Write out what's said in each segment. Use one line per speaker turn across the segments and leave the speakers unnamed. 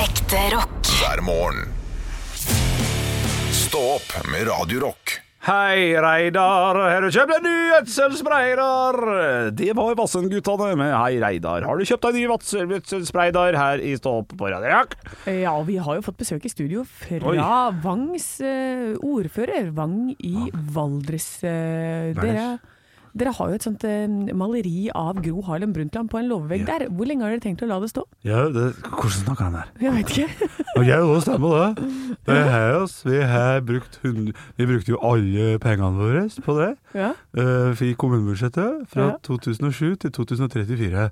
Ekte rock.
hver morgen. Stå opp med Radio Rock.
Hei, Reidar, har du kjøpt en ny gjødselspreidar? Det var Vassendguttene med Hei, Reidar. Har du kjøpt en ny gjødselspreidar her i Stå opp på Radio Rock?
Ja, og vi har jo fått besøk i studio fra
Oi.
Vangs eh, ordfører, Vang i Valdres. Eh, dere, dere har jo et sånt eh, maleri av Gro Harlem Brundtland på en låvevegg der. Hvor lenge har dere tenkt å la det stå?
Ja, det, hvordan snakker han der?
Jeg vet ikke.
Og jeg også stemmer det. Det er her, ass. Vi har brukt hund- Vi brukte jo alle pengene våre på det.
Ja,
eh, I kommunebudsjettet fra
Ja.
2007 til 2034.
ja,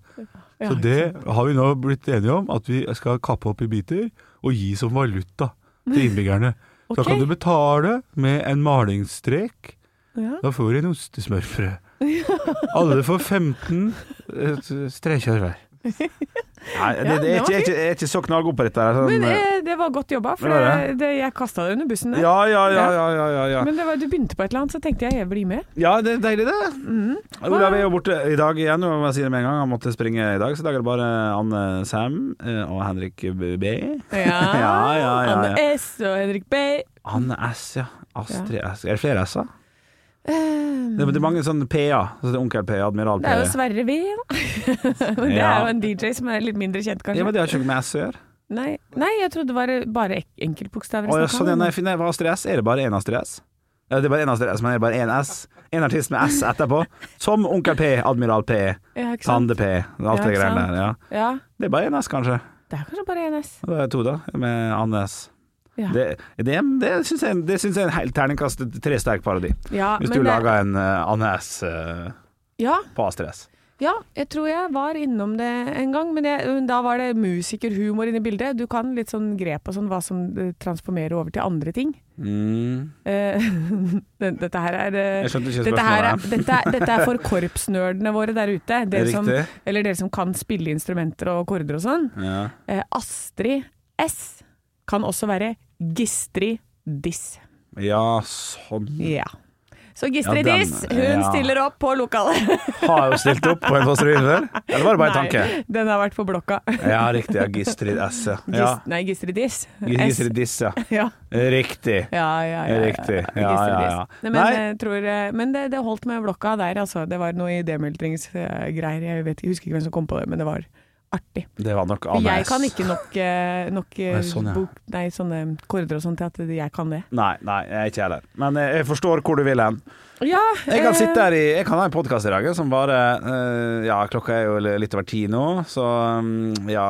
Så det har vi nå blitt enige om, at vi skal kappe opp i biter og gi som valuta til innbyggerne. Da
Ok.
kan du betale med en malingsstrek.
ja.
Da får du en ostesmørbrød. Alle får 15 eh, streker hver.
Nei, det, det,
det
er
var
ikke, jeg er ikke, jeg er ikke så knallgod på dette. her, Sånn,
Men eh, det var godt jobba, for
Det var
det, det, jeg kasta det under bussen. der.
ja, ja, ja, ja, ja, ja, ja.
Men det var, du begynte på et eller annet, så tenkte jeg jeg blir med.
ja, det er deilig, det.
Mhm.
Olav er jo borte i dag igjen, og jeg sier det med en gang, han måtte springe i dag. Så i dag er det bare Anne Sam eh, og Henrik B.
Ja,
Ja, ja, ja, ja.
Anne S og Henrik B.
Anne S, ja. Astrid S. Er det flere S-er? Det er det er mange sånne P-er. Så det er Onkel P, Admiral P.
Det er jo Sverre V, da. Men det
Ja.
er jo en DJ som er litt mindre kjent, kanskje.
Ja, men det har ikke noe med S å gjøre.
Nei, nei, jeg trodde det var bare ek- enkeltbokstaver.
Å, ja,
jeg
sånn,
snakket
ja,
om.
nei, fin- nei, hva er Astrid S? Er det bare én Astrid S? Ja, det er bare én Astrid S, men er det bare én S? En artist med S etterpå. Som Onkel P, Admiral P,
ja, ikke sant?
Tande P. Alt
Ja,
det
ikke
greiene
sant?
der. Ja.
Ja,
Det er bare én S, kanskje.
det er kanskje bare en S.
Og Det er to, da. Med Anne S.
Ja,
Det, det, det syns jeg, det syns jeg er en helt terningkast tre sterk parodi.
ja,
Hvis
men
du
det-
lager en eh, Anne S eh,
ja,
på Astrid S.
ja, jeg tror jeg var innom det en gang, men jeg, men da var det musikerhumor inne i bildet. Du kan litt sånn grep og sånn hva som eh, transformerer over til andre ting.
Mm.
Eh, den- dette her er eh,
Jeg skjønte ikke
dette, her er,
spørsmålet.
dette, er- dette er for korpsnerdene våre der ute.
Det
Dere
er
som,
riktig.
eller dere som kan spille instrumenter og akkorder og sånn.
Ja.
Eh, Astrid S kan også være Gistri Diss.
ja, sånn.
Ja. Så Gistri
Ja, den-
Diss, hun
ja.
stiller opp på lokalet.
Har jo stilt opp på en fosterhjem før? Eller var det bare en
Nei,
tanke?
Den har vært på blokka.
Ja, riktig. Ja, Gistrid S, ja.
Gis,
ja.
Nei, Gistri Diss.
Gistrid Diss, ja.
S. Ja.
Riktig.
Ja, ja, ja, ja.
Riktig. Ja,
Gistri
ja,
Diss.
ja.
Nei, men
Nei.
jeg tror, eh, men det, det holdt med blokka der, altså. Det var noe idémultringsgreier. Jeg, vet- jeg husker ikke hvem som kom på det, men det var artig.
Det var nok
For
Anne
jeg
S.
kan ikke nok, eh, nok eh,
Nei, sånn, ja.
bok, nei, sånne korder og sånn til at jeg kan det.
Nei, nei, jeg er ikke heller. Men eh, jeg jeg forstår hvor du vil hen.
Ja,
Jeg kan
eh,
sitte her i Jeg kan ha en podkast i dag eh, som bare eh, Ja, klokka er jo litt over ti nå, så mm, ja,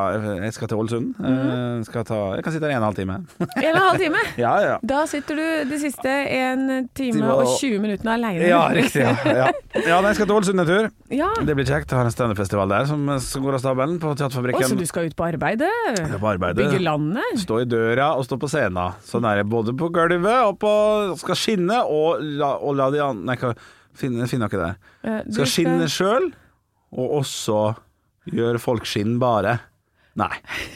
jeg skal til Ålesund.
Mhm.
Eh, skal ta, jeg kan sitte her i en og en halv time.
Eh, En og en halv time.
Ja, ja.
Da sitter du de siste en time
Time og-
og 20 minuttene aleine.
Ja, riktig. Ja, ja. ja nei, jeg skal til Ålesund en tur.
Ja.
Det blir kjekt. Jeg har en standup-festival der som eh, som går av stabelen på
Å, så
Teaterfabrikken.
du skal ut på arbeidet?
Jeg er på arbeidet.
Bygge landet?
Stå i døra og stå på scenen. Sånn er jeg både på gulvet og på Skal skinne og la, og la de andre Nei, hva finner finne noe der.
Eh, du
Skal skinne sjøl, og også gjøre folk skinnbare. Nei.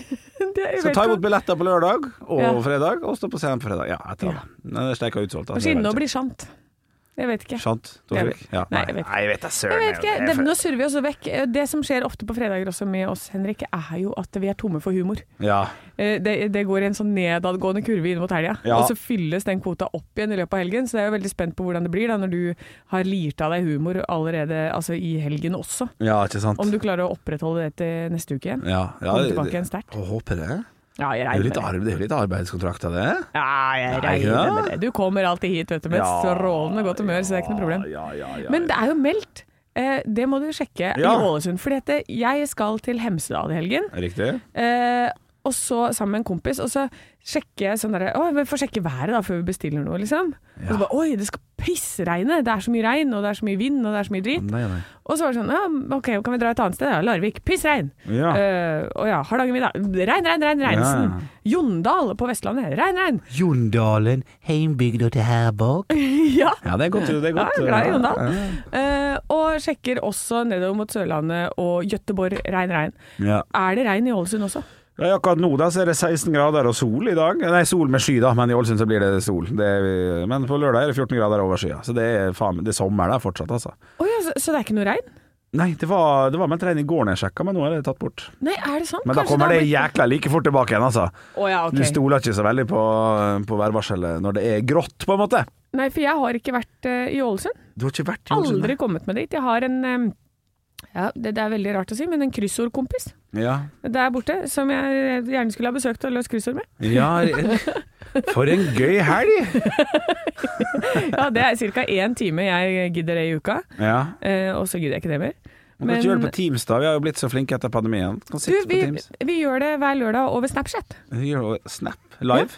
Det, jeg
Skal
vet
ta
ikke.
imot billetter på lørdag og
Ja.
fredag, og stå på scenen på fredag. Ja, etter det. Nei, det er steika utsolgt.
Og
altså,
skinne
det
og
vet
bli sant. Jeg vet
jeg.
ikke.
Sant?
Jeg
Torfrik? Ja, nei,
Nei, jeg vet ikke.
nei, jeg vet da søren.
Jeg vet ikke,
jeg-
det, Nå surrer vi oss vekk. Eh, Det som skjer ofte på fredager også med oss, Henrik, er jo at vi er tomme for humor.
Ja.
Eh, Det, det går i en sånn nedadgående kurve inn mot helga,
Ja.
og så fylles den kvota opp igjen i løpet av helgen. Så jeg er jo veldig spent på hvordan det blir da, når du har lirt av deg humor allerede altså, i helgen også.
ja, ikke sant?
Om du klarer å opprettholde det til neste uke igjen.
ja, ja,
Komme tilbake igjen sterkt.
Jeg Håper det.
Ja, jeg
Det er jo
regner
litt,
med det.
arbeid, det er jo litt arbeidskontrakt av det.
Ja, jeg
Nei, ja.
regner med det. Du kommer alltid hit vet du, med et
Ja,
strålende godt humør, så det er ikke noe problem.
Ja, ja, ja,
Men det er jo meldt. Eh, Det må du sjekke i
Ja.
Ålesund. For jeg skal til Hemsedal i helgen.
Riktig.
Eh, og så sammen med en kompis, og så sjekker jeg sånn derre Å, vi får sjekke været da før vi bestiller noe, liksom. Og så bare Oi, det skal pissregne! Det er så mye regn, og det er så mye vind, og det er så mye drit.
Nei, nei.
Og så var det sånn Ja, OK, kan vi dra et annet sted? Ja, Larvik. Pissregn!
Ja.
Eh, og ja, Hardangervidda. Regn, regn, regn, Reinsen. Sånn Jondal på Vestlandet. Regn, regn.
Jondalen, heimbygda til Herborg.
ja.
Ja, det er godt. Det er
Ja,
godt.
jeg er glad i Jondal.
Ja,
Eh, og sjekker også nedover mot Sørlandet og Gøteborg. Regn, regn.
Ja.
Er det regn i Ålesund også?
Ja, akkurat nå da så er det 16 grader og sol i dag. Nei, sol med sky, da, men i Ålesund så blir det sol. Det er, men på lørdag er det 14 grader over skya, så det er, faen, det er sommer der fortsatt, altså.
Å ja, så, så det er ikke noe regn?
Nei, det var, det var med en trening i går når jeg sjekka, men nå er det tatt bort.
Nei, er det sant?
Men da
Kanskje
kommer
har
det
blitt-
jækla like fort tilbake igjen, altså.
Å ja, ok.
Du stoler ikke så veldig på, på værvarselet når det er grått, på en måte.
Nei, for jeg har ikke vært eh, i Ålesund.
Du har ikke vært i Ålesund?
Aldri kommet meg dit. Jeg har en eh, ja, det, det er veldig rart å si, men en kryssordkompis
Ja.
der borte som jeg gjerne skulle ha besøkt og løst kryssord med.
ja For en gøy helg!
Ja, Det er ca. én time jeg gidder det i uka,
Ja.
eh, og så gidder jeg ikke det mer.
Man kan ikke gjøre det på Teams, da. Vi har jo blitt så flinke etter pandemien. Kan
du,
sitte
vi,
på Teams.
vi gjør det hver lørdag over Snapchat.
Vi gjør jo Snap live.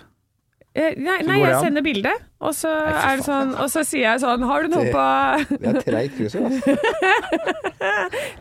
Eh, nei,
Så
nei,
går det
jeg
an.
sender bilde, og så
fy
er det sånn Og så sier jeg sånn Har du noe på
Det er treigt kryssord, altså.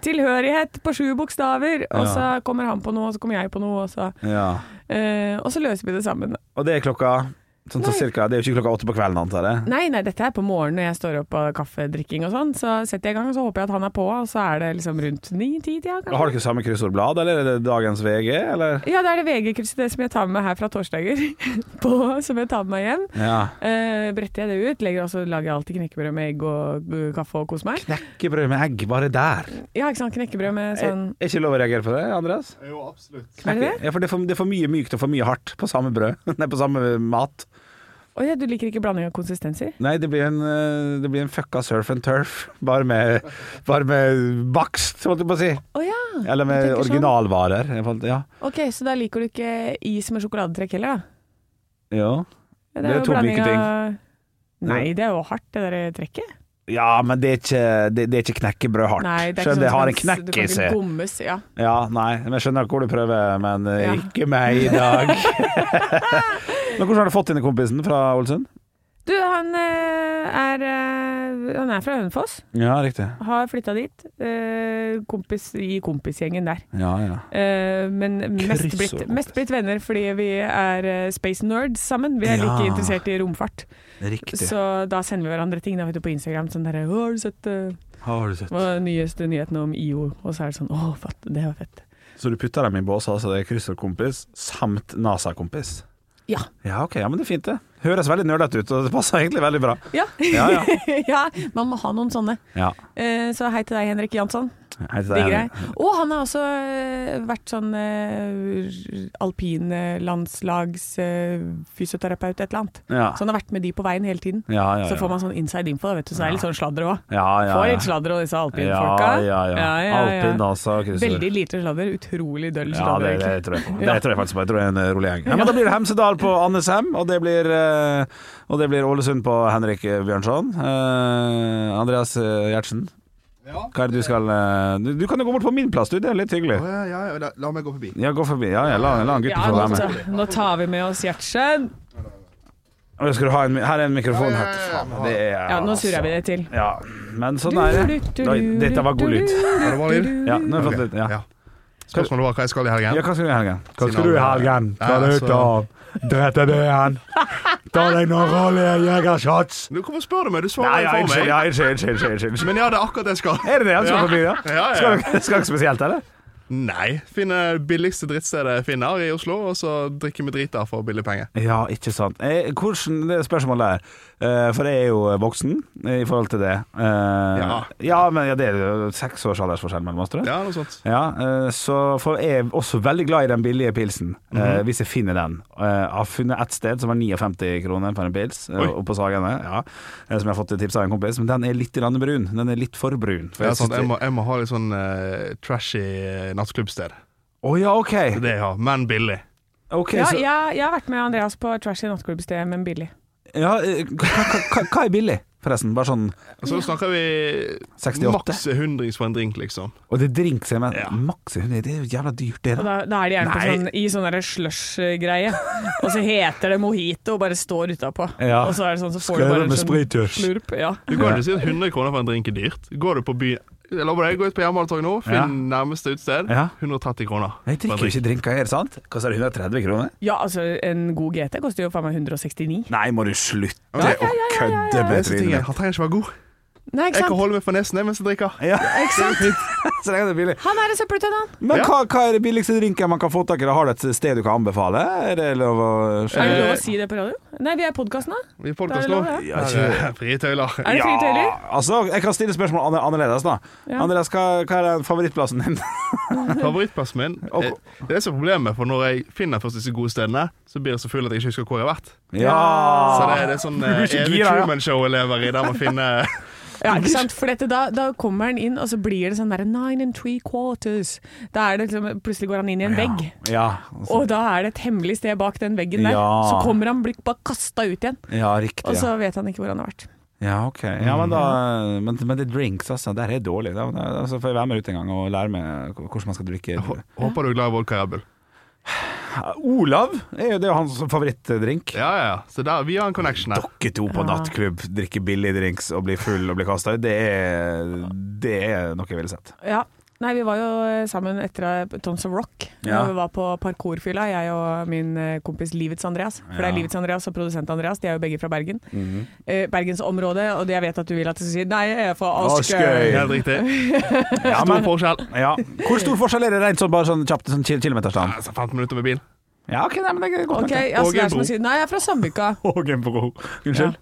tilhørighet på sju bokstaver? Og
Ja.
så kommer han på noe, og så kommer jeg på noe, og så,
Ja.
eh, og så løser vi det sammen.
Og det er klokka sånn så
Nei.
cirka, Det er jo ikke klokka åtte på kvelden, antar jeg.
Nei, nei, dette er på morgenen når jeg står opp og kaffedrikking og sånn. Så setter jeg i gang, og så håper jeg at han er på, og så er det liksom rundt ni-ti-tida.
Og Har dere samme kryssordblad, eller er det dagens VG, eller?
Ja, da er det VG-krysset, det som jeg tar med meg her fra torsdager, på, som jeg tar med meg hjem.
Ja.
Eh, bretter jeg det ut, legger, og så lager jeg alltid knekkebrød med egg og eh, kaffe og koser meg.
Knekkebrød med egg, bare der.
Ja, ikke sant, knekkebrød med sånn
Er ikke lov å reagere på det, Andreas?
Er det det?
Ja, for det er for, det er for mye mykt og for mye hardt på samme brød. Nei, på samme mat.
Å ja, du liker ikke blanding av konsistenser?
Nei, det blir en, eh, det blir en fucka surf and turf, bare med, bare med bakst, holdt jeg på å si.
Å ja,
Eller med
Du tenker sånn.
originalvarer. Jeg fant- Ja.
ok, så da liker du ikke is med sjokoladetrekk heller, da?
Ja.
Ja,
Det er
jo
to
blanding
like ting.
av- Nei, det er jo hardt, det der trekket.
ja, men det er ikke, det, det er ikke knekkebrød hardt.
Nei, det er ikke
Skjønner, det
sånn
har en eh.
som
knekk i
Du kan
seg.
ikke gommes, ja.
Ja, nei, men jeg skjønner hvor du prøver, men eh,
Ja.
ikke meg i dag. men hvordan har du fått inn kompisen fra Ålesund?
Du, han eh, er eh, Han er fra Hønefoss,
Ja, riktig.
har flytta dit. eh, Kompis i kompisgjengen der.
Ja, ja.
Eh, Men mest
Kryss og
blitt,
kompis.
mest blitt venner fordi vi er eh, space nerds sammen. Vi er
Ja.
like interessert i romfart.
Riktig.
Så da sender vi hverandre ting da, vet du, på Instagram. Sånn der, «Å, 'Har du sett eh,
Har du sett.
hva er den nyeste nyheten om IO?' Og så er det sånn 'Å, fatt, det var fett'.
Så du putter dem i bås, altså det er kryssordkompis samt NASA-kompis?
Ja.
Ja, ok, ja, men det er fint det. Høres veldig nerdete ut, og det passer egentlig veldig bra.
Ja.
Ja, ja.
Ja, man må ha noen sånne.
Ja,
Eh, Så hei til deg, Henrik Jansson.
hei til deg.
Digger deg.
Henrik.
Og han har også eh, vært sånn eh, alpinlandslagsfysioterapeut, et eller annet.
Ja.
Så han har vært med de på veien hele tiden.
Ja, ja, ja.
Så får man sånn inside info, da, vet du. Så det er litt sånn sladder òg.
ja, ja,
Får
ja.
litt sladder og disse alpinfolka.
Ja, ja, ja. Alpin, NASA og kryssord.
Veldig lite sladder. Utrolig døll
Ja,
sladder,
det,
egentlig.
det tror jeg på. Det tror jeg faktisk på. Jeg tror det er en eh, rolig gjeng. Ja, men da blir det Hemsedal på Andesheim, og det blir, eh, og det blir Ålesund på Henrik Bjørnson. Eh, Andreas eh, Gjertsen. Hva er det du skal eh, Du, du kan jo gå bort på min plass, du. Det er litt hyggelig.
Å, ja, ja, ja, la, la meg gå forbi.
Ja, gå forbi. Ja, ja, la, la han gutten
Ja,
få
nå,
være med.
ta- nå tar vi med oss Gjertsen.
Og jeg skulle ha en, mi- her er en mikrofon.
Ja, ja,
Her.
ja, ja.
Faen, det er
Ja, nå surrer vi det til.
Ja, men altså. sånn er det. Oi, dette var god lyd.
det var lyd?
Ja, nå har jeg fått litt. Ja.
Ja. Spørsmålet var hva jeg skal i
ja,
helgen.
hva skal du gjøre i helgen?
Hva skal du i helgen? Skal
Nei,
du ut og drete det igjen? Ta deg noen rolige jegershots.
Du, Hvorfor spør du meg? Du
Nei,
svarer
ja,
jo for
unnskyld,
meg.
ja, unnskyld, unnskyld, unnskyld, unnskyld.
Men ja, det er akkurat det jeg skal.
Er det det han skal forbi, da?
Ja, ja.
Skal dere skal dere spesielt, eller?
Nei. Finne det billigste drittstedet jeg finner i Oslo, og så drikker vi drit der for billig penge.
Ja, ikke sant. Eh, Hvordan det spørsmålet er eh, For jeg er jo voksen eh, i forhold til det. Eh,
Ja.
ja, men ja, det er jo seks års aldersforskjell mellom oss, tror jeg.
Ja, noe sånt.
Ja, eh, så for jeg er også veldig glad i den billige pilsen, eh,
Mhm.
hvis jeg finner den. Eh, Jeg har funnet et sted som var 59 kroner for en pils, eh,
Oi.
oppe på Sagene, ja, eh, som jeg har fått tips av en kompis, men den er litt grann brun. Den er litt for brun. For
Ja,
jeg
sant.
synes
Jeg,
det-
må, jeg må ha litt sånn eh, trashy eh, nattklubbsted.
Å ja, ok.
Det jeg har, men billig.
Ok,
Ja,
så, ja.
jeg, jeg har vært med Andreas på trashy nattklubbsted, men billig.
eh, hva, hva, hva er billig, forresten? Bare sånn
Og så snakker vi
68.
maks hundrings for en drink, liksom.
Og det er drink, sier jeg, men
Ja.
maks 100, det er jo jævla dyrt, det.
Og
da.
da, da er de gjerne på
Nei.
sånn, i sånn der slush-greie. Og så heter det mojito og bare står utapå.
Ja.
Og så er det sånn, så får du
Skrevet
bare en
med
sånn
sprittusj.
slurp. Ja.
Du kan ikke si at 100 kroner for en drink er dyrt. Går du på byen Jeg lover deg, gå ut på Jernbanetorget nå, finn
Ja.
nærmeste utested.
Ja.
130 kroner.
Jeg
for
drikker
en
jo ikke drinker her, sant? Koster det 130 kroner?
ja, altså en god GT koster jo faen meg 169.
Nei, må du slutte
Ja, ja,
å kødde
Det
med
er så ting jeg-
trynet.
Han trenger ikke være god.
Nei,
Jeg
ikke
kan
sant?
holde meg for nesen jeg, mens jeg drikker.
Ja,
Ikke sant?
så lenge det er billig.
Han er en søppeltønne, han.
Men
Ja.
hva, hva er det billigste drinken man kan få tak i? Har du et sted du kan anbefale? Er det lov å
Er det lov
Eh,
å si det på radio? Nei, vi er podkasten, da.
Vi er
Da er
podkast
det
nå.
lov, ja.
Ja, ikke- Fritøyler.
Er det frie tøyler?
altså, jeg kan stille spørsmål anner- annerledes, da.
Ja.
Andreas, hva, hva er den favorittplassen din?
Favorittplassen min
Og-
eh, Det er det som er problemet, for når jeg finner først disse gode stedene, så blir jeg så full at jeg ikke husker hvor jeg har vært.
ja!
Så det er det er sånn eh,
Ah. Du blir ikke
evig
gira, ja.
Truman Show jeg lever i, der man finner
Ja, ikke sant? For dette, da, da kommer han inn, og så blir det sånn derre nine and three quarters. Da er det liksom, plutselig går han inn i en vegg.
Ja,
Og da er det et hemmelig sted bak den veggen der.
Ja.
Så kommer han blir bare kasta ut igjen,
ja riktig.
og
Ja.
så vet han ikke hvor han har vært.
ja, ok. Mm. Ja, men, da, men, men det er drinks, altså. Der er jeg dårlig. Da, da så får jeg være med ut en gang og lære meg hvordan man skal drikke.
Hå- Håper du er glad i vodka Red Bull.
Olav er jo det er jo hans favorittdrink.
Ja, ja, ja. Så der, vi har en connection her.
Dere to på
Ja.
nattklubb, drikke billige drinks og bli full og bli kasta ut, det er, det er noe jeg ville sett.
Ja. Nei, vi var jo eh, sammen etter eh, Tons of Rock.
Ja.
Når Vi var på parkourfylla, jeg og min eh, kompis Livets Andreas. For det
Ja.
er Livets Andreas og produsent Andreas, de er jo begge fra Bergen.
Mhm.
eh, Bergensområdet, og det jeg vet at du vil at jeg skal si Nei, jeg er fra
Askøy.
Askøy.
Helt riktig.
Ja,
Stor
men,
forskjell.
ja. Hvor stor forskjell er det rent sånn, bare sånn kjapt sånn kil- kilometerstand?
Altså, 15 minutter med bil.
Ja, ok, nei, men det er godt
Ok,
nok.
ja, så
Og
det
en
er som
bro.
å si Nei, jeg er fra Sandvika.
Og en bro. Unnskyld?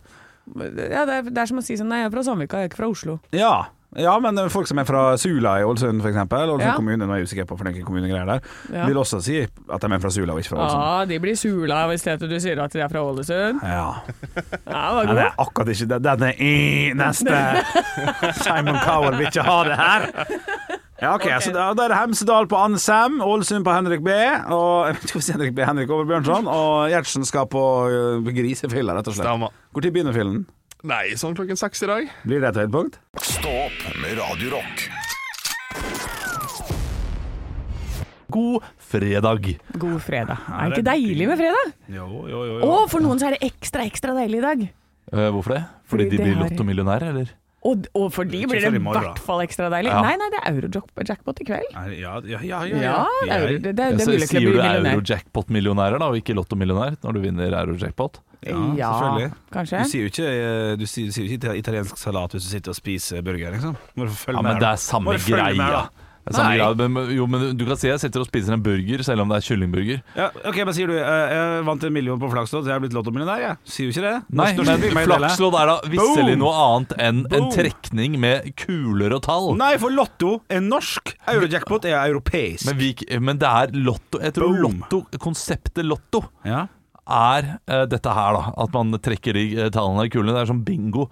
Ja, det, er, det er som å si sånn Nei, jeg er fra Sandvika, jeg er ikke fra Oslo.
Ja. ja. men eh, folk som er fra Sula i Ålesund, f.eks. Ålesund
Ja.
kommune, nå er jeg usikker på for noen kommunegreier der,
Ja.
vil også si at de er fra Sula og ikke fra
Ja,
Ålesund.
de blir sula hvis det du sier at de er fra Ålesund.
Ja.
Ja, det
Nei,
var
det
god.
er akkurat ikke det. Den er i neste. Simon Cowell vil ikke ha det her. Ja, ok, så da, da er det Hemsedal på Anne Sem, Ålesund på Henrik B. Og jeg vet ikke om jeg sier Henrik B, Henrik Over Bjørnson. Og Gjertsen skal på øh, grisefylla, rett og slett.
Stemmer.
Når begynner fyllen?
Nei, sånn klokken seks i dag.
Blir det et høydepunkt?
Stå opp med Radio Rock.
God fredag.
god fredag. Er det ikke deilig med fredag?
Jo, jo, jo.
Å, for noen så er det ekstra, ekstra deilig i dag.
Eh, hvorfor det?
Fordi
Fordi de
det
blir
har-
lottomillionærer, eller?
Og, og for de
Ikke
blir
før
det
i
i
morgen, da.
hvert fall ekstra deilig.
Ja.
Nei, nei, det er euro-jackpot i kveld.
Ja, ja, ja.
Ja, det er, euro- det, det, det
Ja,
er
så
mulig til å bli
sier du
millionær.
euro-jackpot-millionærer, da, og ikke lottomillionær, når du vinner euro-jackpot?
Ja, selvfølgelig.
kanskje.
Du sier jo ikke, eh, du sier, du sier jo ikke italiensk salat hvis du sitter og spiser burger, liksom. Må du følge
Ja,
med
men
her,
det
da.
er samme
Bare følg med,
greia.
da.
Det er samme
Nei.
greia. Men, jo, men du kan si jeg sitter og spiser en burger, selv om det er kyllingburger.
Ja, ok, men sier du eh, Jeg vant en million på Flakslodd, så jeg er blitt lottomillionær, jeg. Sier jo ikke det.
Nei,
Når- når
men
spiller meg i dele.
flakslodd er da visselig
Boom!
noe annet enn en
Boom!
trekning med kuler og tall.
Nei, for Lotto er norsk. Eurojackpot er europeisk.
Men, vi, men det er lotto Jeg tror
Boom.
lotto, konseptet lotto
ja.
er eh, dette her, da. At man trekker de eh, tallene i kulene. Det er som bingo.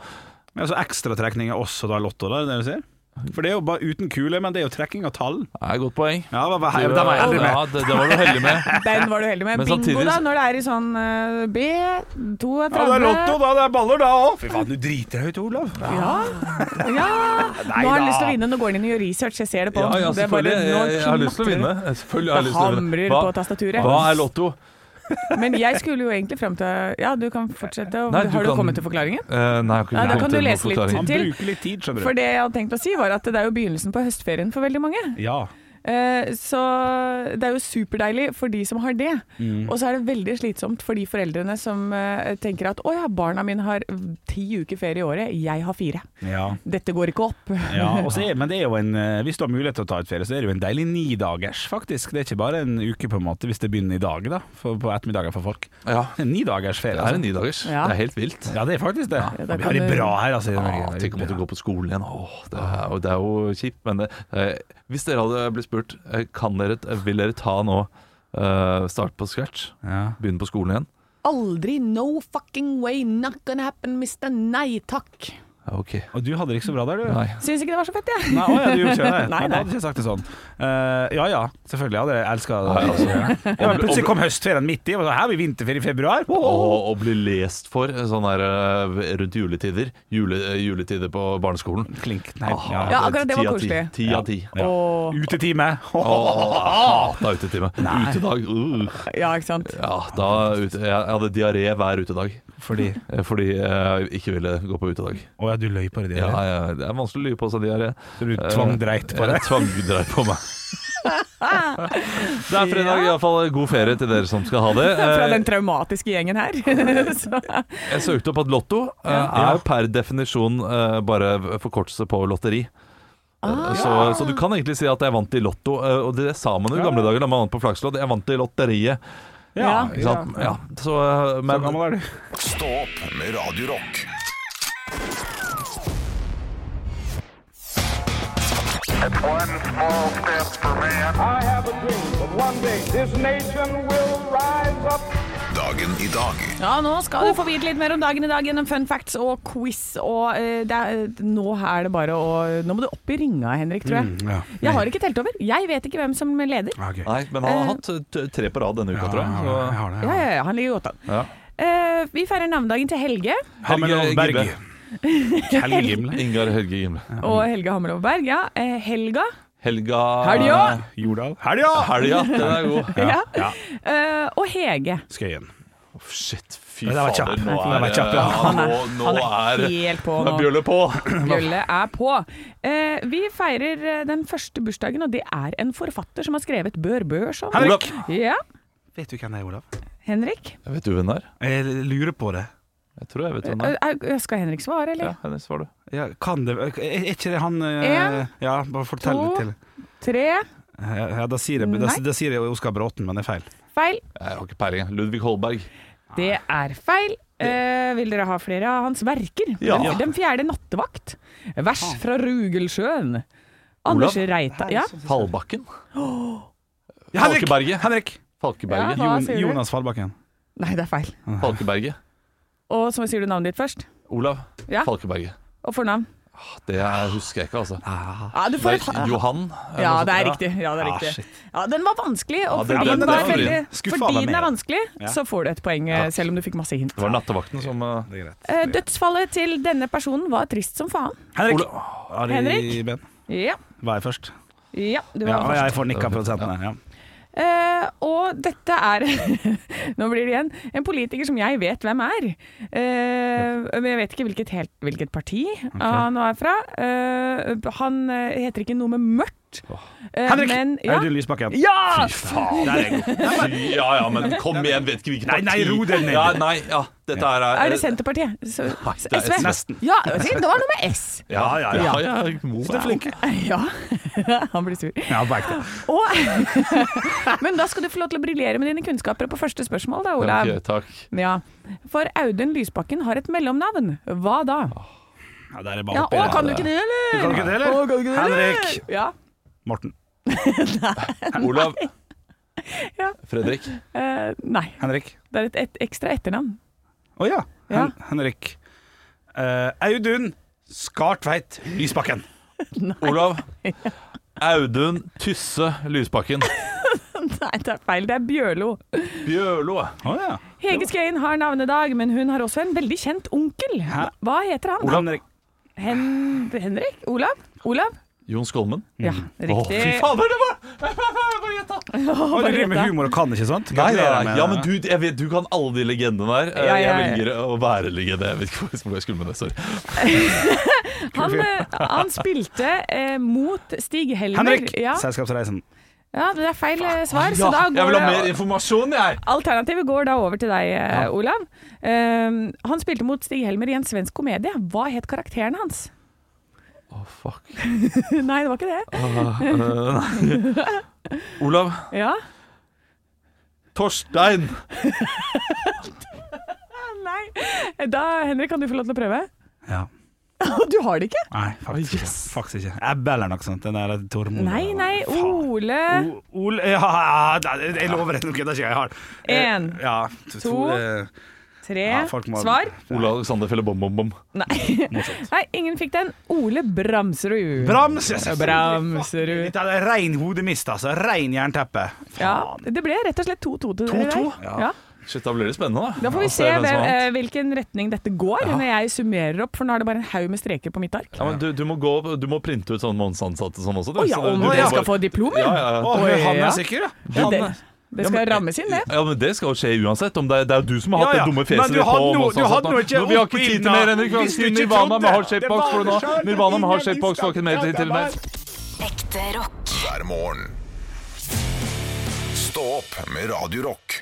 Altså ekstratrekning er også da Lotto, da, er det det du sier? For det er jo bare uten kule, men det er jo trekking av tall.
Det er et godt poeng.
Ja, hva, hva, det var jeg aldri med.
Ja, det, det var du heldig med.
Den var du heldig med.
Men
Bingo,
samtidig-
da, når det er i sånn eh, B,
Ja, det er
32
Lotto, da. Det er baller, da òg. Fy faen, du driter deg ut, Olav.
Ja. ja. Nå har han lyst til å vinne. Nå går han inn og gjør research, jeg ser det på
Ja,
han.
ja,
Det er bare-
selvfølgelig. Jeg,
nå
jeg, har lyst til å
knatrer
vinne.
det.
Selvfølgelig har jeg lyst til å vinne.
Hamrer på
Hva,
tastaturet.
hva er lotto?
Men jeg skulle jo egentlig frem til Ja, du kan fortsette. og-
Nei, du
har du
kan-
kommet til forklaringen?
Eh, nei, jeg har ikke
Nei, da kan
kommet til
du
noen
lese litt
forklaring.
Han
Til-
bruker litt tid, skjønner du.
For det jeg hadde tenkt å si, var at det er jo begynnelsen på høstferien for veldig mange.
Ja.
Eh, Så det er jo superdeilig for de som har det.
Mm.
Og så er det veldig slitsomt for de foreldrene som eh, tenker at å ja, barna mine har ti uker ferie i året, jeg har fire.
ja.
Dette går ikke opp.
Ja, og så er, men det er jo en, eh, hvis du har mulighet til å ta ut ferie, så er det jo en deilig nidagers, faktisk. Det er ikke bare en uke, på en måte, hvis det begynner i dag, da, for, på ettermiddagen for folk.
Ja,
En nidagers ferie.
det er en
altså.
nidagers.
Ja.
Det er helt vilt.
Ja, det er faktisk det.
Ja, da
vi
kan
har det
du-
bra her, altså. i Norge.
Ja, Ah, tenk om at du går på skolen igjen. Åh, det, er, og det er jo kjipt, men det, eh, hvis dere hadde blitt spurt eh, Kan dere, eh, vil dere ta nå eh, start på scratch,
Ja.
begynne på skolen igjen?
Aldri, no fucking way, not gonna happen, mister nei takk.
Ja, ok.
Og du hadde det ikke så bra der, du.
Nei.
Syns ikke det var så fett, jeg.
Nei, å ja, du gjorde ikke det?
Nei,
Da
nei.
hadde jeg ikke sagt det sånn. Eh, ja ja, selvfølgelig hadde jeg elska det.
Nei, altså.
Ja, men plutselig kom høstferien midt i, og så her har vi vinterferie i februar.
Og, og bli lest for eh, sånn der eh, rundt juletider. Jule, eh, juletider på barneskolen.
Klink. Nei,
Ah,
ja.
Ja, akkurat det var
ti av ti.
koselig.
Ti av ti.
Ja.
Åh,
Utetime.
Åh, Hata utetime. Utedag. Uh.
ja, ikke sant.
Ja, da, ute, jeg hadde diaré hver utedag.
Fordi
eh, fordi jeg ikke ville gå på utedag.
Å ja, du løy på det?
Ja,
Ja,
ja, det er vanskelig å lyve på seg, de her.
Du
Eh.
tvangdreit på det?
Jeg tvangdreit på meg. Det er fredag, iallfall. God ferie til dere som skal ha det.
Fra
Eh,
den traumatiske gjengen her. Så,
Jeg søkte opp at Lotto eh, er per definisjon eh, bare forkortelse på lotteri. Eh,
Ah,
Så, så du kan egentlig si at jeg vant i Lotto, eh, og det sa man jo i gamle dager da man vant på flakslodd. Jeg vant i lotteriet.
Ja.
Ikke sant? Ja. Så, eh,
Så
men
gammel er du.
Stå opp med Radio Rock.
One small step for man. I have a dream that one day this nation will rise up.
Dagen i dag.
ja, nå skal du få vite litt mer om dagen i dag gjennom fun facts og quiz. Og eh, det er, nå er det bare å Nå må du opp i ringa, Henrik, tror jeg.
Mm, ja.
Jeg har ikke telt over. Jeg vet ikke hvem som leder.
Ja, ok.
Nei, men han har hatt eh, t- tre på rad denne
Ja,
uka,
jeg
tror jeg.
har det, jeg
Så,
har det, jeg har
Ja,
det.
ja, ja, han ligger godt an.
ja.
Eh, vi feirer navnedagen til Helge
Hammerlov
Helge
Berg. Helge Gimle.
Ingar Helge Gimle.
og Helge Hammerlov Berg. Ja. Eh, Helga.
Helga Ah.
Helga!
Jordal. Helga!
Helga, den er god.
Ja.
Ja.
Eh, og Hege.
Skøyen.
Oh, shit, fy
Den var kjapp.
fader. Nå
Den
er,
var kjapp, ja.
ja, nå, nå er,
Helt på
nå
nå.
er bjølle på.
Bjølle er på. Eh, vi feirer eh, den første bursdagen, og det er en forfatter som har skrevet Bør Børson.
Henrik!
Ja.
Vet du hvem det er, Olav?
Henrik.
Vet du hvem det er?
Jeg lurer på det.
Jeg tror jeg vet hvem det er.
Eh, eh, skal Henrik svare, eller?
Ja, Hennes var det.
Ja, kan det Er er ikke det han eh,
En,
Ja, bare fortell
to.
litt til.
Tre.
Ja, da sier jeg, da,
Nei.
da sier jeg Oskar Bråten, men det er feil.
Feil.
Jeg har ikke peiling. Ludvig Holberg.
Det er feil. Eh, vil dere ha flere av hans verker?
Ja.
Den, den fjerde nattevakt. Vers fra Rugelsjøen. Anders Reita. Ja.
Fallbakken?
Ja, Henrik!
Falkeberget.
Henrik!
Ja,
Falkeberget.
hva
Jon,
sier du?
Jonas Fallbakken.
Nei, det er feil.
Falkeberget.
Og så sier du navnet ditt først.
Olav
Ja.
Falkeberget. Ah,
Og fornavn.
Det husker jeg ikke, altså.
Ja, du får et
Det er Johan. eller
Ja,
noe
det er
sånt.
riktig. Ja, det er
Ah,
riktig.
shit.
Ja, den var vanskelig, og
Ja,
fordi,
den- den-
den,
den
var
var
veldig,
skuffa
fordi
meg
den
mer.
er vanskelig, så får du et poeng, eh, selv om du fikk masse hint.
Det var nattevakten som eh,
Det er greit.
Eh, Dødsfallet til denne personen var trist som faen.
Henrik!
Ola-
Ari
Henrik?
Ben.
Ja,
Var jeg først?
ja du
Ja,
var
og
først.
jeg får nikka prosentene. Ja.
Eh, og dette er Nå blir det igjen en politiker som jeg vet hvem er. Eh, men jeg vet ikke hvilket, helt, hvilket parti han er fra. Eh, han eh, heter ikke noe med mørkt. Eh,
Henrik!
Men, ja.
Audun Lysbakken.
ja!
Faen! Fy, Ja ja, men kom igjen, vet ikke hvilket
Nei,
parti.
nei, ro deg ned.
Ja, nei, ja, dette her er
Er det Senterpartiet? Så,
det er
SV?
SV.
Nesten.
Ja, det var noe med S.
Ja, ja, ja. ja, Mo
Du er flink.
Ja, han blir sur.
Ja, back to.
Og, men da skal du få lov til å briljere med dine kunnskaper på første spørsmål, da, Olav.
Ok, takk.
Ja. For Audun Lysbakken har et mellomnavn. Hva da?
Ja, der er bare
Ja,
oppi
å,
det.
kan du ikke det, eller?
Kan du ikke det, eller?
Å, kan du ikke det, eller?
Henrik!
Ja.
Morten.
Olav.
Ja.
Fredrik.
Eh, nei,
Henrik.
det er et, et ekstra etternavn.
Å ja.
Ja.
Hen Henrik. Eh, Audun Skartveit Lysbakken.
Olav. Audun Tysse Lysbakken.
Nei, det er feil. Det er Bjørlo.
Bjørlo.
Å ja.
Hege Skøyen har navnedag, men hun har også en veldig kjent onkel.
Hæ?
Hva heter han?
Olav Henrik.
Hen Henrik? Olav? Olav?
Jon Skolmen.
Ja,
Mm.
Å,
riktig.
fy fader, det var Bare gjett, da!
Å, du driver med humor og kan ikke sant?
Nei, nei,
Gratulerer
nei.
med-
Ja, men du, jeg vet, du kan alle de legendene der. Eh,
Ja, ja, ja.
Jeg velger å være legende. Jeg vet ikke hvor- hvor jeg skulle med det. Sorry.
Han, eh, han spilte eh, mot Stig Helmer.
Henrik!
Ja,
Selskapsreisen.
ja, det er feil eh, svar, så da
Ja, jeg
går
vil ha mer
det
informasjon, jeg!
Alternativet går da over til deg, eh, Olav. Eh, han spilte mot Stig Helmer i en svensk komedie. Hva het karakteren hans?
Å, fuck.
Nei, det var ikke det.
Ah, eh, nei. Olav
Ja.
Torstein.
Nei. Da, Henrik, kan du få lov til å prøve?
Ja.
Du har det ikke?
Nei, faktisk, ikke. faktisk ikke. Ebbe eller noe sånt. Den der Tormod.
Nei, nei.
Faen.
Ole
O- Ole Ja, da- jeg lover deg, nå kødder ikke jeg. jeg har
En,
Eh, ja, to,
to,
eh,
Tre.
ja, folk må-
Svar?
Olav Alexander Felle Bom Bom Bom.
Nei. Nei, ingen fikk den. Ole Bramsrud.
Brams! jeg synes-
Bramsrud.
Dette er rein hodemist, altså. Rein jernteppe.
Ja, det ble rett og slett 2-2 til dere.
2-2?
der. Ja.
Shit, da blir det sånn. spennende,
Da
da.
får vi
Ja,
se
hvem som
hvem,
vant.
eh, hvilken retning dette går når jeg summerer opp, for nå er det bare en haug med streker på mitt ark.
ja, men du, du, må gå, du må printe ut sånn månedsansatte sånn også. du.
Å ja,
Så du-
om
du-
jeg
du-
skal få diplom?
ja, ja, ja.
Å,
Oi,
han er
ja.
sikker, ja.
Ja, det- Det skal rammes inn, det.
Ja, men Det skal jo skje uansett. Om det, er, det er jo du som har hatt
Ja, ja.
det dumme
Men du
fjeset ditt
hadde
på.
noe-
masse
du
og
hadde
sånn.
noe ikke
Nå, Vi har ikke
opp
tid til
innan,
mer enn reklam.
hvis du ikke
Nirvana med
trodde.
hard shape
Det
box
var
for
det
nå.
selv,
Nirvana med hard
ingen
shape box
visste
var ikke mer
at
til
det
til
var-
meg.
Ekte rock.
hver morgen. Stå opp med Radio Rock.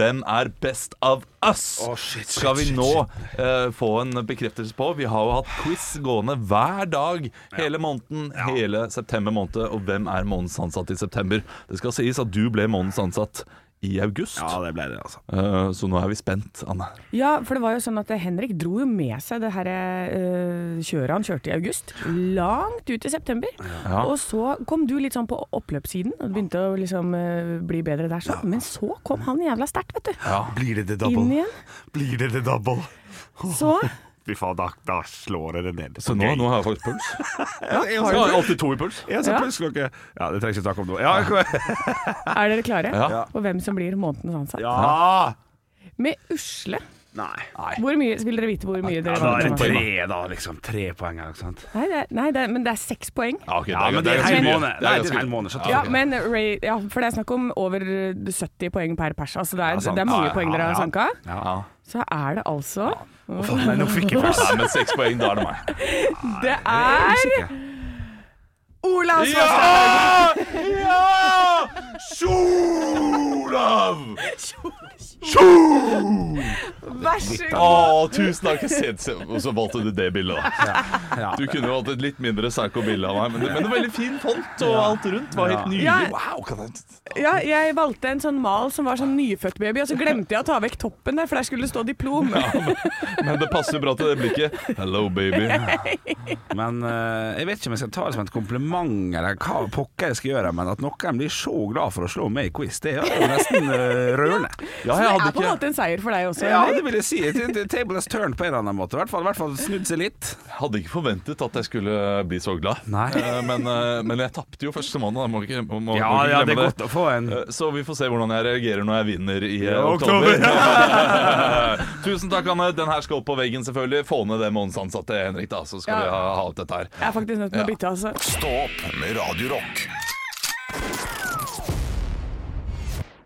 Hvem er best av us?
shit, shit,
Skal vi
shit,
nå eh, få en bekreftelse på? Vi har jo hatt quiz gående hver dag hele måneden, hele september måned. Og hvem er månedens ansatt i september? Det skal sies at du ble månedens ansatt i august,
Ja, det ble det, altså.
Eh, så nå er vi spent, Anne.
Ja, for det var jo sånn at Henrik dro jo med seg det her eh, kjøret han kjørte i august, langt ut i september. Og så kom du litt sånn på oppløpssiden, og det begynte å liksom eh, bli bedre der sånn. Men så kom han jævla sterkt, vet du.
Blir det det
Inn
double?
igjen.
Blir det det double?
Så
Fy faen, da, da slår jeg det ned.
Så nå, nå har jeg faktisk puls. Jeg har alltid to i puls.
Jeg ser pulsklokke. Ja, det trenger ikke snakke om noe. Ja, jeg-
er dere klare
Ja.
på hvem som blir månedens ansatt?
ja.
Med usle.
Nei.
Hvor mye, vil dere vite hvor mye dere
Da er det
vant?
tre, da. Liksom tre poeng her, ikke sant.
Nei, det er, nei det er, men det er seks poeng.
Ja, ok,
Ja, men det er en
ganske
hel
mye.
måned.
Det er
Nei, det
ganske
er en hel
mye.
måned. skjønner du.
Ja, men Ray, ja, for det er snakk om over 70 poeng per pers. Altså det, er,
sant.
det er
Ja,
mange
ja,
poeng dere
ja.
har sanka.
Ja.
Så er det altså
Nei, nå fikk jeg puls.
Nei, men seks poeng, da er det meg.
Det er Olav Svarstad!
Ja! Olav!
Vær så
Å,
god!
tusen takk. Se- se- Og så valgte du det bildet, da. Du kunne jo valgt et litt mindre psycho bilde av meg, men, men det var veldig fin font, og alt rundt var helt
Ja.
nydelig. Wow, kan jeg...
Ja, jeg valgte en sånn mal som var sånn nyfødt baby, og så glemte jeg å ta vekk toppen der, for der skulle det stå diplom.
Men det passer jo bra til det blikket. Hello, baby.
Men eh, jeg vet ikke om jeg skal ta det som et kompliment, eller hva pokker jeg skal gjøre, men at noen blir så glad for å slå meg i quiz, det er jo nesten eh, rørende.
Ja,
Det
jeg
er
hadde
på en
ikke,
måte en seier for deg også.
Ja,
eller?
det vil jeg si. Det- det- Table has turned på en eller annen måte. I hvert fall, i hvert fall snudd seg litt.
hadde ikke forventet at jeg skulle bli så glad.
Nei.
Eh, Men, eh, men jeg tapte jo første måned, da. Må ikke, må, må
Ja,
ikke
ja, det
glemme
er godt å få en
Eh, Så vi får se hvordan jeg reagerer når jeg vinner i eh,
Ja, oktober.
oktober. Tusen takk, Anne. Den her skal opp på veggen, selvfølgelig. Få ned det månedsansatte, Henrik, da, så skal
Ja.
vi ha, ha ut dette her.
Jeg er faktisk nødt til å bytte, altså.
Stå opp med Radio Rock.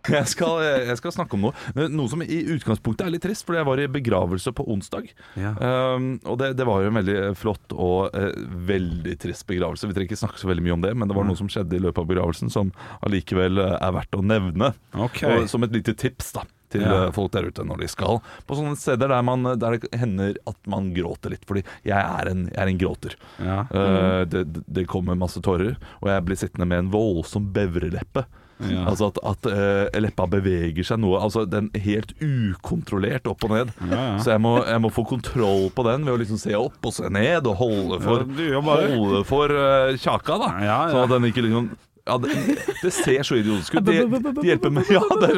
Jeg skal, eh, jeg skal snakke om noe Noe som i utgangspunktet er litt trist, fordi jeg var i begravelse på onsdag.
Ja.
Um, og det, det var jo en veldig flott og eh, veldig trist begravelse. Vi trenger ikke snakke så veldig mye om det, men det var noe som skjedde i løpet av begravelsen som allikevel eh, er verdt å nevne.
Ok.
Og som et lite tips da til
Ja.
eh, folk der ute når de skal på sånne steder der, man, der det hender at man gråter litt. Fordi jeg er en, jeg er en gråter.
Ja.
Eh,
Mm.
det, det kommer masse tårer, og jeg blir sittende med en voldsom bevreleppe.
Ja.
Altså at, at eh, leppa beveger seg noe. Altså den helt ukontrollert opp og ned.
Ja, ja.
Så jeg må, jeg må få kontroll på den ved å liksom se opp og se ned og holde for,
Ja, du jobber.
holde for eh, kjaka, da.
Ja, ja.
Sånn at den ikke liksom ja, det, det ser så idiotisk ut. De, de hjelper med Ja, det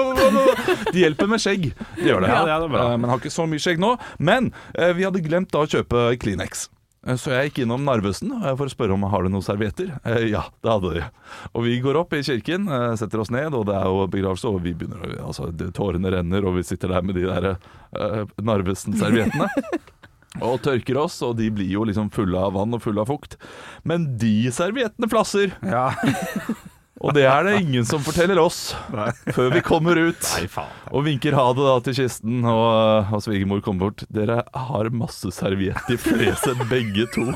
er- de hjelper med skjegg. De gjør det.
Ja, ja, det er bra.
Eh, Men har ikke så mye skjegg nå. Men eh, vi hadde glemt da å kjøpe Kleenex. Eh, Så jeg gikk innom Narvesen eh, for å spørre om har du noen servietter. Eh, Ja, det hadde de. Og vi går opp i kirken, eh, setter oss ned, og det er jo begravelse, og vi begynner å- altså, det- Tårene renner, og vi sitter der med de der eh, Narvesen-serviettene. Og tørker oss, og de blir jo liksom fulle av vann og fulle av fukt. Men de serviettene flasser!
Ja.
Og det er det ingen som forteller oss før vi kommer ut og vinker ha det da til kisten. Og, og svigermor kommer bort. Dere har masse serviett i fleset, begge to.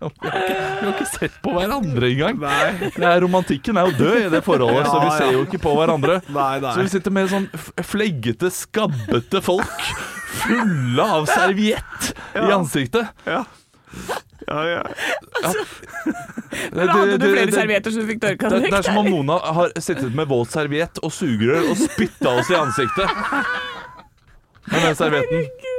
Vi har, ikke, vi har ikke sett på hverandre engang.
Nei.
Det er romantikken er jo død i det forholdet, så vi
Ja,
ser
ja.
jo ikke på hverandre.
Nei, nei.
Så vi sitter med sånn f- fleggete, skabbete folk fulle av serviett i ansiktet.
Ja, ja.
Men Hadde
Det-
du
det-
flere
det-
servietter som du fikk tørka
Det,
vekk?
det er som om
der?
Mona har sittet med våt serviett og sugerør og spytta oss i ansiktet. Med den servietten.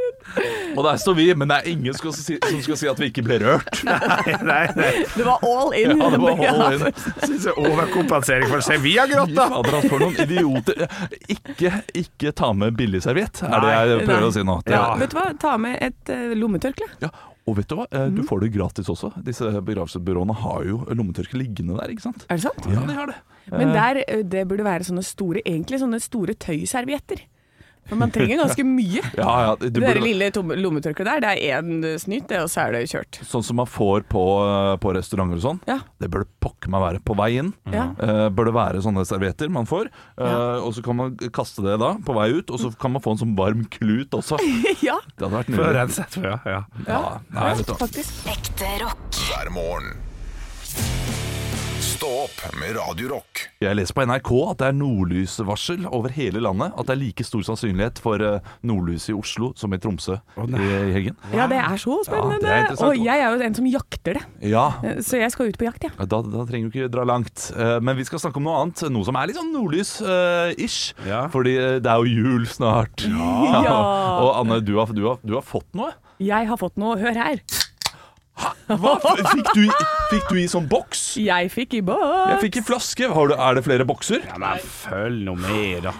Og der står vi, men det er ingen skal si, som skal si at vi ikke ble rørt.
Nei, nei.
Det var all in.
Ja, det var all in.
Synes jeg overkompensering for seg. Vi har grått, da!
Fader, altså, for noen idioter. Ikke, ikke ta med billigserviett, er det jeg prøver å si nå.
Ja.
Det-
Vet du hva, ta med et eh, lommetørkle.
Ja, og vet du hva? Eh, Du får det gratis også. Disse begravelsesbyråene har jo lommetørkle liggende der, ikke sant?
Er det sant? eh,
Ja, de har det.
Men der, ø, det burde være sånne store, egentlig sånne store tøyservietter. Men man trenger ganske mye.
Ja, ja, du
Det der
burde,
lille tom- lommetørkleet der, det er én snytt, det, og så er det kjørt.
sånn som man får på, på restauranter og sånn,
Ja.
det bør det pokker meg være på vei inn.
Ja.
Eh, bør det være sånne servietter man får, eh, og så kan man kaste det da på vei ut, og så kan man få en sånn varm klut også. Det
ja,
hadde vært
For å
nydelig.
rense etterpå, ja. ja.
Ja, nei, vet du. hva.
faktisk.
Ekte rock.
hver morgen. Stå opp med Radio Rock.
Jeg leser på NRK at det er nordlysvarsel over hele landet. At det er like stor sannsynlighet for eh, nordlys i Oslo som i Tromsø i i helgen.
Ja, det er så spennende.
det er interessant.
og jeg er jo en som jakter det,
Ja,
så jeg skal ut på jakt, jeg. Ja.
Ja, Da, da trenger du ikke dra langt. Eh, Men vi skal snakke om noe annet. Noe som er litt sånn nordlys-ish.
Ja.
Fordi eh, det er jo jul snart. Ja.
Ja.
Og Anne, du har, du, har, du har fått noe.
Jeg har fått noe, hør her.
Hva? Fikk du, i- fikk du i sånn boks?
Jeg fikk i båt.
Jeg fikk i flaske. Har du, er det flere bokser?
ja men følg nå med, da.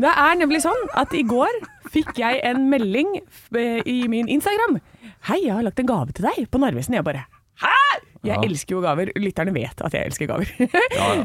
Det er nemlig sånn at i går fikk jeg en melding f- eh, i min Instagram. Hei, jeg har lagt en gave til deg på Narvesen. Jeg bare Hæ?! Jeg elsker jo gaver. Lytterne vet at jeg elsker gaver.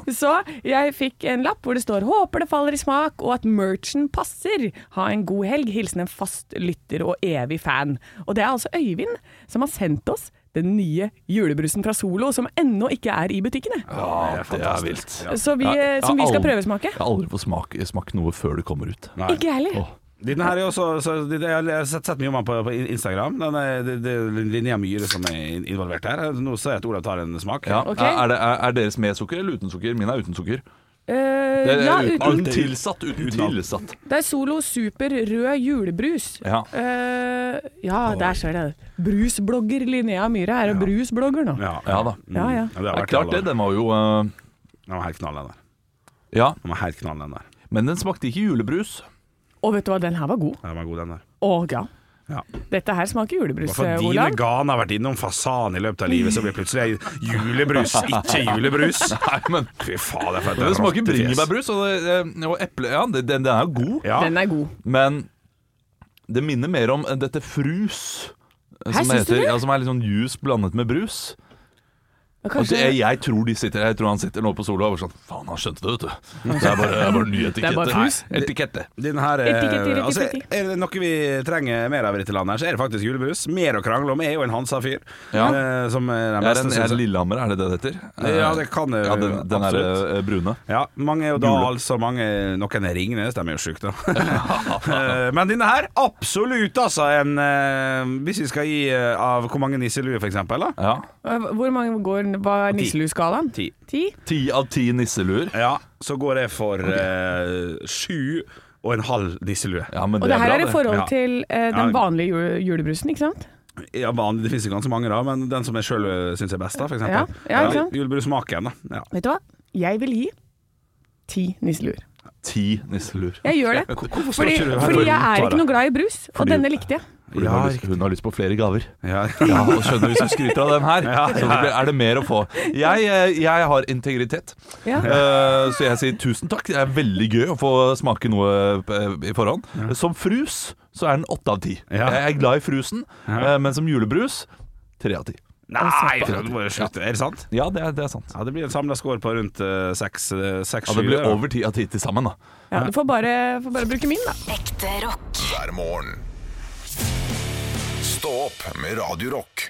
Så jeg fikk en lapp hvor det står 'Håper det faller i smak', og at merchen passer. Ha en god helg. Hilsen en fast lytter og evig fan. Og det er altså Øyvind som har sendt oss den nye julebrusen fra Solo, som ennå ikke er i butikkene.
Ja, det er vilt.
Så vi, eh, som vi skal prøvesmake.
Jeg har aldri fått smak, smakt noe før det kommer ut.
Nei.
Ikke jeg heller.
Åh.
Den her er jo også, så, den- jeg har sett, sett mye om den på, på Instagram. Den er, det, det er Linnea Myhre som er in- involvert her. Nå ser jeg at Olav tar en smak.
Ja.
Ok.
Er, det, er, er deres med sukker eller uten sukker? Min er uten sukker.
Eh,
Det er,
ja,
uten,
uten
tilsatt. Uten tilsatt.
Det er Solo Super Rød Julebrus.
Ja.
Eh, ja der ser jeg det. Brusblogger Linnea Myhre er jo brusblogger nå.
Ja,
Ja da.
Ja, ja.
Det
Det
har
er
vært
klart det.
Den
Den var jo eh,
var helt knall, den der.
Ja.
Den var helt knall, den der.
Men den smakte ikke julebrus.
Og vet du hva, den her var god.
Den var god, den der.
Å ja.
Ja.
Dette her smaker julebrus, eh,
For dine
Olav.
gane har vært innom fasan i løpet av livet, så blir plutselig julebrus ikke julebrus.
Nei, men
Fy fader, for et
Den smaker
rottefjes.
bringebærbrus og, det- og eple. Ja, det- den, den er jo god,
Ja.
Den er god.
men det minner mer om eh, dette frus.
Hæ, syns du det?
ja, som er litt sånn juice blandet med brus.
Og
Og
Kanskje,
det- jeg, jeg tror de sitter Jeg tror han sitter nå på solo og er sånn Faen, han skjønte det, vet du. Det er bare, det er bare ny etikette.
Mm. Det er bare frus.
Nei, etikette.
Den her er,
Etikett, etikett,
altså,
etikett.
er det noe vi trenger mer av i dette landet, her, så er det faktisk julebrus. Mer å krangle om. Jeg er jo en Hansa-fyr.
Ja.
eh, Som er den
Er
beste,
en,
synes
er
jeg.
Lillehammer, er det det det heter? Eh,
Ja, det kan det
Ja, den, den er
absolutt.
eh, brune.
Ja, mange er jo da
Gule.
altså mange, Noen er Ringnes, de er jo sjuke, da. Eh, Men denne her, absolutt, altså. En, eh, hvis vi skal gi eh, av hvor mange nisselue, for eksempel. Da?
Ja.
eh, hvor mange går Hva er nisselusskalaen?
Ti.
Ti?
Ti av ti nisseluer.
Ja, så går jeg for eh, sju og en halv nisselue.
Ja, men
Og det her
bra,
er i forhold
Ja.
til eh,
Ja.
den vanlige jule, julebrusen, ikke sant?
Ja, men Det finnes jo ganske mange, da, men den som jeg sjøl syns er best, da, for
Ja,
eksempel.
ja, ikke sant?
Julebrusmaken, da. Ja.
Vet du hva? Jeg vil gi ti nisseluer.
Ti nisseluer.
Jeg gjør det. Fordi,
ikke du her?
fordi jeg er ikke noe glad i brus, og
Fordi-
denne likte jeg.
Hun, har lyst, hun har lyst på flere gaver.
Ja.
Ja, og skjønner hvis hun skryter av den her, så det blir- er det mer å få. Jeg, eh, jeg har integritet,
Ja.
Eh, så jeg sier tusen takk. Det er veldig gøy å få smake noe eh, i forhånd. Som frus så er den åtte av ti.
Ja.
Jeg er glad i frusen, eh, men som julebrus tre av ti.
Nei, du må jo slutte. Er det sant?
Ja, det er, det er sant.
Ja, Det blir en samla score på rundt eh, seks, eh, seks
Ja, det blir
sju, da.
over ti av ti til sammen, da.
Ja, du får bare, får bare bruke min, da.
Ekte rock.
hver morgen. Stå opp med Radio Rock.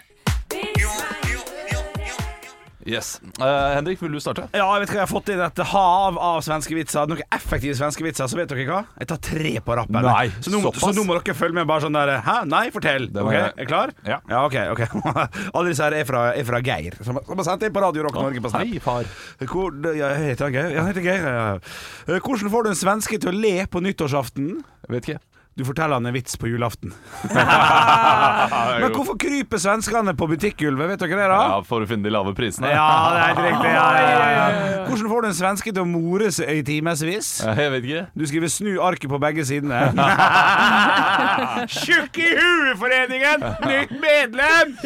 Yes. Eh, Henrik, vil du starte?
Ja, jeg vet hva jeg har fått inn et hav av svenske vitser. Noen effektive svenske vitser, så vet dere hva? Jeg tar tre på rappen.
Nei,
så, nå,
såpass.
så nå må dere følge med bare sånn der Hæ? Nei, fortell.
Det var
Ok,
jeg.
Er klar?
Ja.
ok. ok Alle disse her er fra, er fra Geir, som, som har sendt inn på Radio Rock Norge på Snap.
Hei, far.
Hvor, ja, jeg heter han Geir. Ja, Jeg heter Geir. ja. Eh, Hvordan får du en svenske til å le på nyttårsaften?
Vet ikke.
Du forteller han en vits på julaften. Men hvorfor kryper svenskene på butikkgulvet? Vet dere det, da?
Ja, For å finne de lave prisene.
Ja, det er helt riktig. Ja, ja, ja, ja. Hvordan får du en svenske til å more seg i timevis?
Jeg vet ikke.
Du skriver 'snu arket på begge sidene'. Tjukk i hueforeningen! Nytt medlem!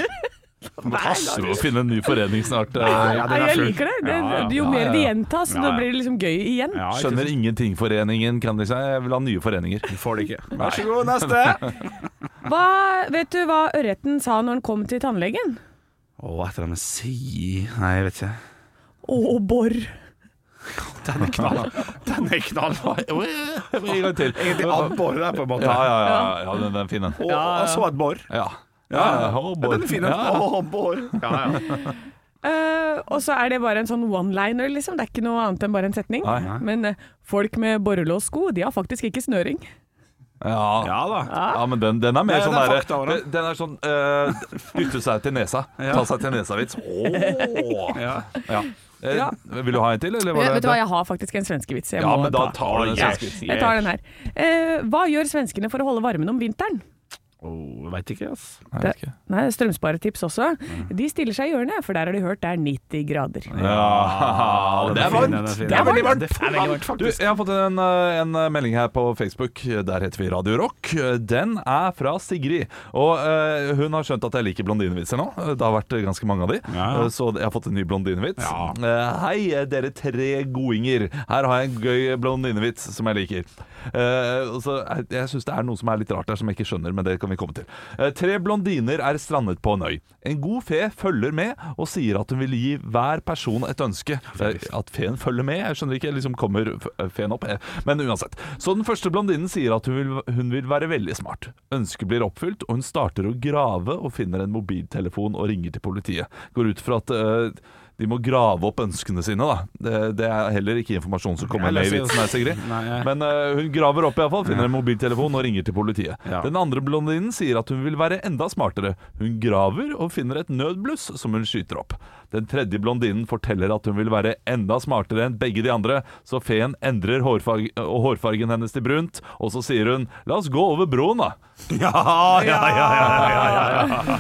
Må passe på å finne en ny forening snart. eh,
Ja, den er
Nei, jeg
full.
liker det. det
Ja, ja,
jo
ja,
mer
ja,
det
ja.
gjentas,
Ja,
da
ja.
blir det liksom gøy igjen.
Ja, ikke
Skjønner
sant?
ingenting-foreningen kan de si. Jeg vil ha nye foreninger.
Du får det ikke. Vær så god, neste.
Hva, vet du hva ørreten sa når han kom til tannlegen?
Å, etter han med si Nei, jeg vet ikke.
Å, Borr.
Den er knall. Den er knall.
En gang til.
Egentlig abbor der, på en måte.
Ja, ja, ja, ja den, den er fin, den.
Og, og så et bor.
Ja.
Ja, ja.
ja,
Ja, den er fin. den.
Ja.
Å, bor. Ja, ja.
Eh, og så er det bare en sånn one-liner, liksom. Det er ikke noe annet enn bare en setning.
Nei, nei.
Men eh, folk med borrelåssko, de har faktisk ikke snøring.
Ja.
ja da.
Ja, men den, den er mer
Nei,
sånn
det er
derre
fakta, Aron.
den, den er sånn eh, dytte seg til nesa. Ta seg til nesa-vits. Åh.
Ja.
Ja. Eh,
Ja.
Vil du ha en til, eller var det
Vet du hva, jeg har faktisk en svenskevits. Jeg,
Ja,
må
men da
ta.
tar du den svenske vitsen.
jeg tar den her. Eh, hva gjør svenskene for å holde varmen om vinteren?
Oh, Veit ikke, ass.
Nei, jeg vet ikke. Mm.
Nei, Strømsparetips også. De stiller seg i hjørnet, for der har de hørt det er 90 grader.
Ja, det er varmt!
Det er veldig varmt.
Du, jeg har fått en, eh, en melding her på Facebook. Der heter vi Radio Rock. Den er fra Sigrid. Og eh, hun har skjønt at jeg liker blondinevitser nå. Det har vært ganske mange av de.
Ja.
Eh, Så jeg har fått en ny blondinevits. Eh, Hei, dere tre godinger. Her har jeg en gøy blondinevits som jeg liker. Eh, og så, eh, jeg syns det er noe som er litt rart her, som jeg ikke skjønner, men det kan vi komme til. Eh, tre blondiner er strandet på en øy. En god fe følger med og sier at hun vil gi hver person et ønske. Eh, at feen følger med? Jeg skjønner ikke. Liksom kommer f- feen opp? Eh, Men uansett. Så den første blondinen sier at hun vil, hun vil være veldig smart. Ønsket blir oppfylt, og hun starter å grave og finner en mobiltelefon og ringer til politiet. Går ut fra at eh, de må grave opp ønskene sine, da. Det, det er heller ikke informasjon som kommer
Jeg
med i
leser-
vitsen her, Sigrid.
Nei, jeg-
Men eh, hun graver opp iallfall, finner en mobiltelefon og ringer til politiet.
Ja.
Den andre blondinen sier at hun vil være enda smartere. Hun graver og finner et nødbluss som hun skyter opp. Den tredje blondinen forteller at hun vil være enda smartere enn begge de andre, så feen endrer hårfarg og hårfargen hennes til brunt, og så sier hun 'la oss gå over broen', da.
Ja, ja, ja, ja, ja,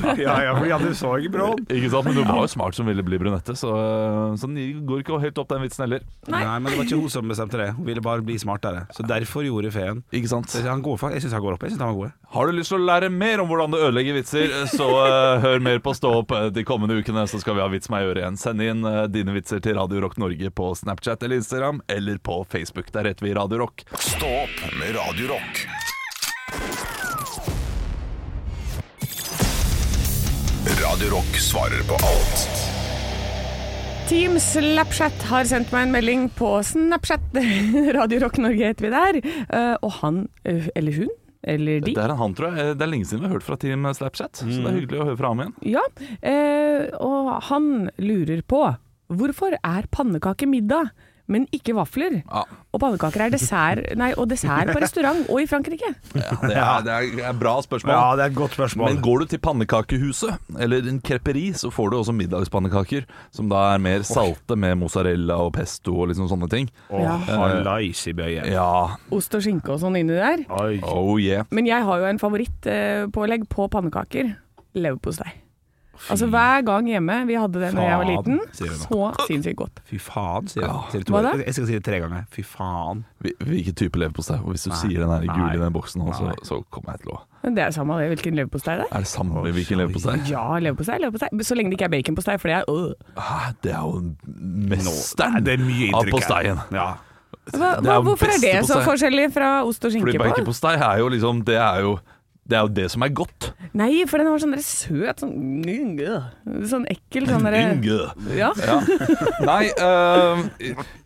ja. ja, ja fordi at du så ikke broen.
Ikke sant? Men hun var jo smart som ville bli brunette, så, eh, så den går ikke helt opp, den vitsen heller.
Nei. men det var ikke hun som bestemte det. Hun ville bare bli smartere. Så derfor gjorde feen
Ikke sant?
Så han går for, Jeg syns han går opp. Jeg synes han var god.
Har du lyst til å lære mer om hvordan du ødelegger vitser, så eh, hør mer på Stå opp eh, de kommende ukene, så skal vi ha Vits meg i øret igjen. Send inn eh, dine vitser til Radio Rock Norge på Snapchat eller Instagram, eller på Facebook. Der heter vi Radio Rock.
Stå opp med Radio Rock. Radio Rock svarer på alt.
Team Slapchat har sendt meg en melding på Snapchat. Radio Rock Norge heter vi der. Eh, og han, eh, eller hun, eller de
Det er en han, tror jeg. Eh, Det er lenge siden vi har hørt fra Team Snapchat, så
Mm.
det er hyggelig å høre fra ham igjen.
Ja, eh, og han lurer på hvorfor er pannekake middag, men ikke vafler?
Ja.
Og pannekaker er dessert, nei, og dessert på restaurant og i Frankrike.
Det er, det er- det er bra spørsmål.
det er et godt spørsmål.
Men går du til pannekakehuset eller en kreperi, så får du også middagspannekaker, som da er mer salte med mozzarella og pesto og liksom sånne ting.
Ja.
Hallais i bøyen.
Ja,
Ost og skinke og sånn inni der.
Oi.
oh yeah.
Men jeg har jo en favorittpålegg på pannekaker. Leverpostei. Altså hver gang hjemme vi hadde det da jeg var liten,
Faen, sier hun
så sinnssykt godt.
Fy faen, sier jeg. Sier det to
Hva
ganger.
da?
Jeg skal si det tre ganger. Fy faen.
Hvil- Hvilken type leverpostei? Og hvis du sier den her gule i den boksen, nå, så, så kommer jeg til å
Men det er samme det, hvilken leverpostei det er.
Er det samme med hvilken leverpostei?
Ja, leverpostei, leverpostei. Så lenge det ikke er baconpostei, for det er øh.
Hæ, Ah, Det er jo
Nei,
mesteren
det er mye
av
inntrykk her.
posteien.
Ja.
Hva,
Det er jo
Hvorfor er
beste
det så
postei.
forskjellig fra ost og
Fordi
skinke på?
baconpostei er jo liksom Det er jo det er jo det som er godt.
Nei, for den har sånn der søt sånn, øh, sånn ekkel sånn derre
Yngø.
ja.
Nei, øh,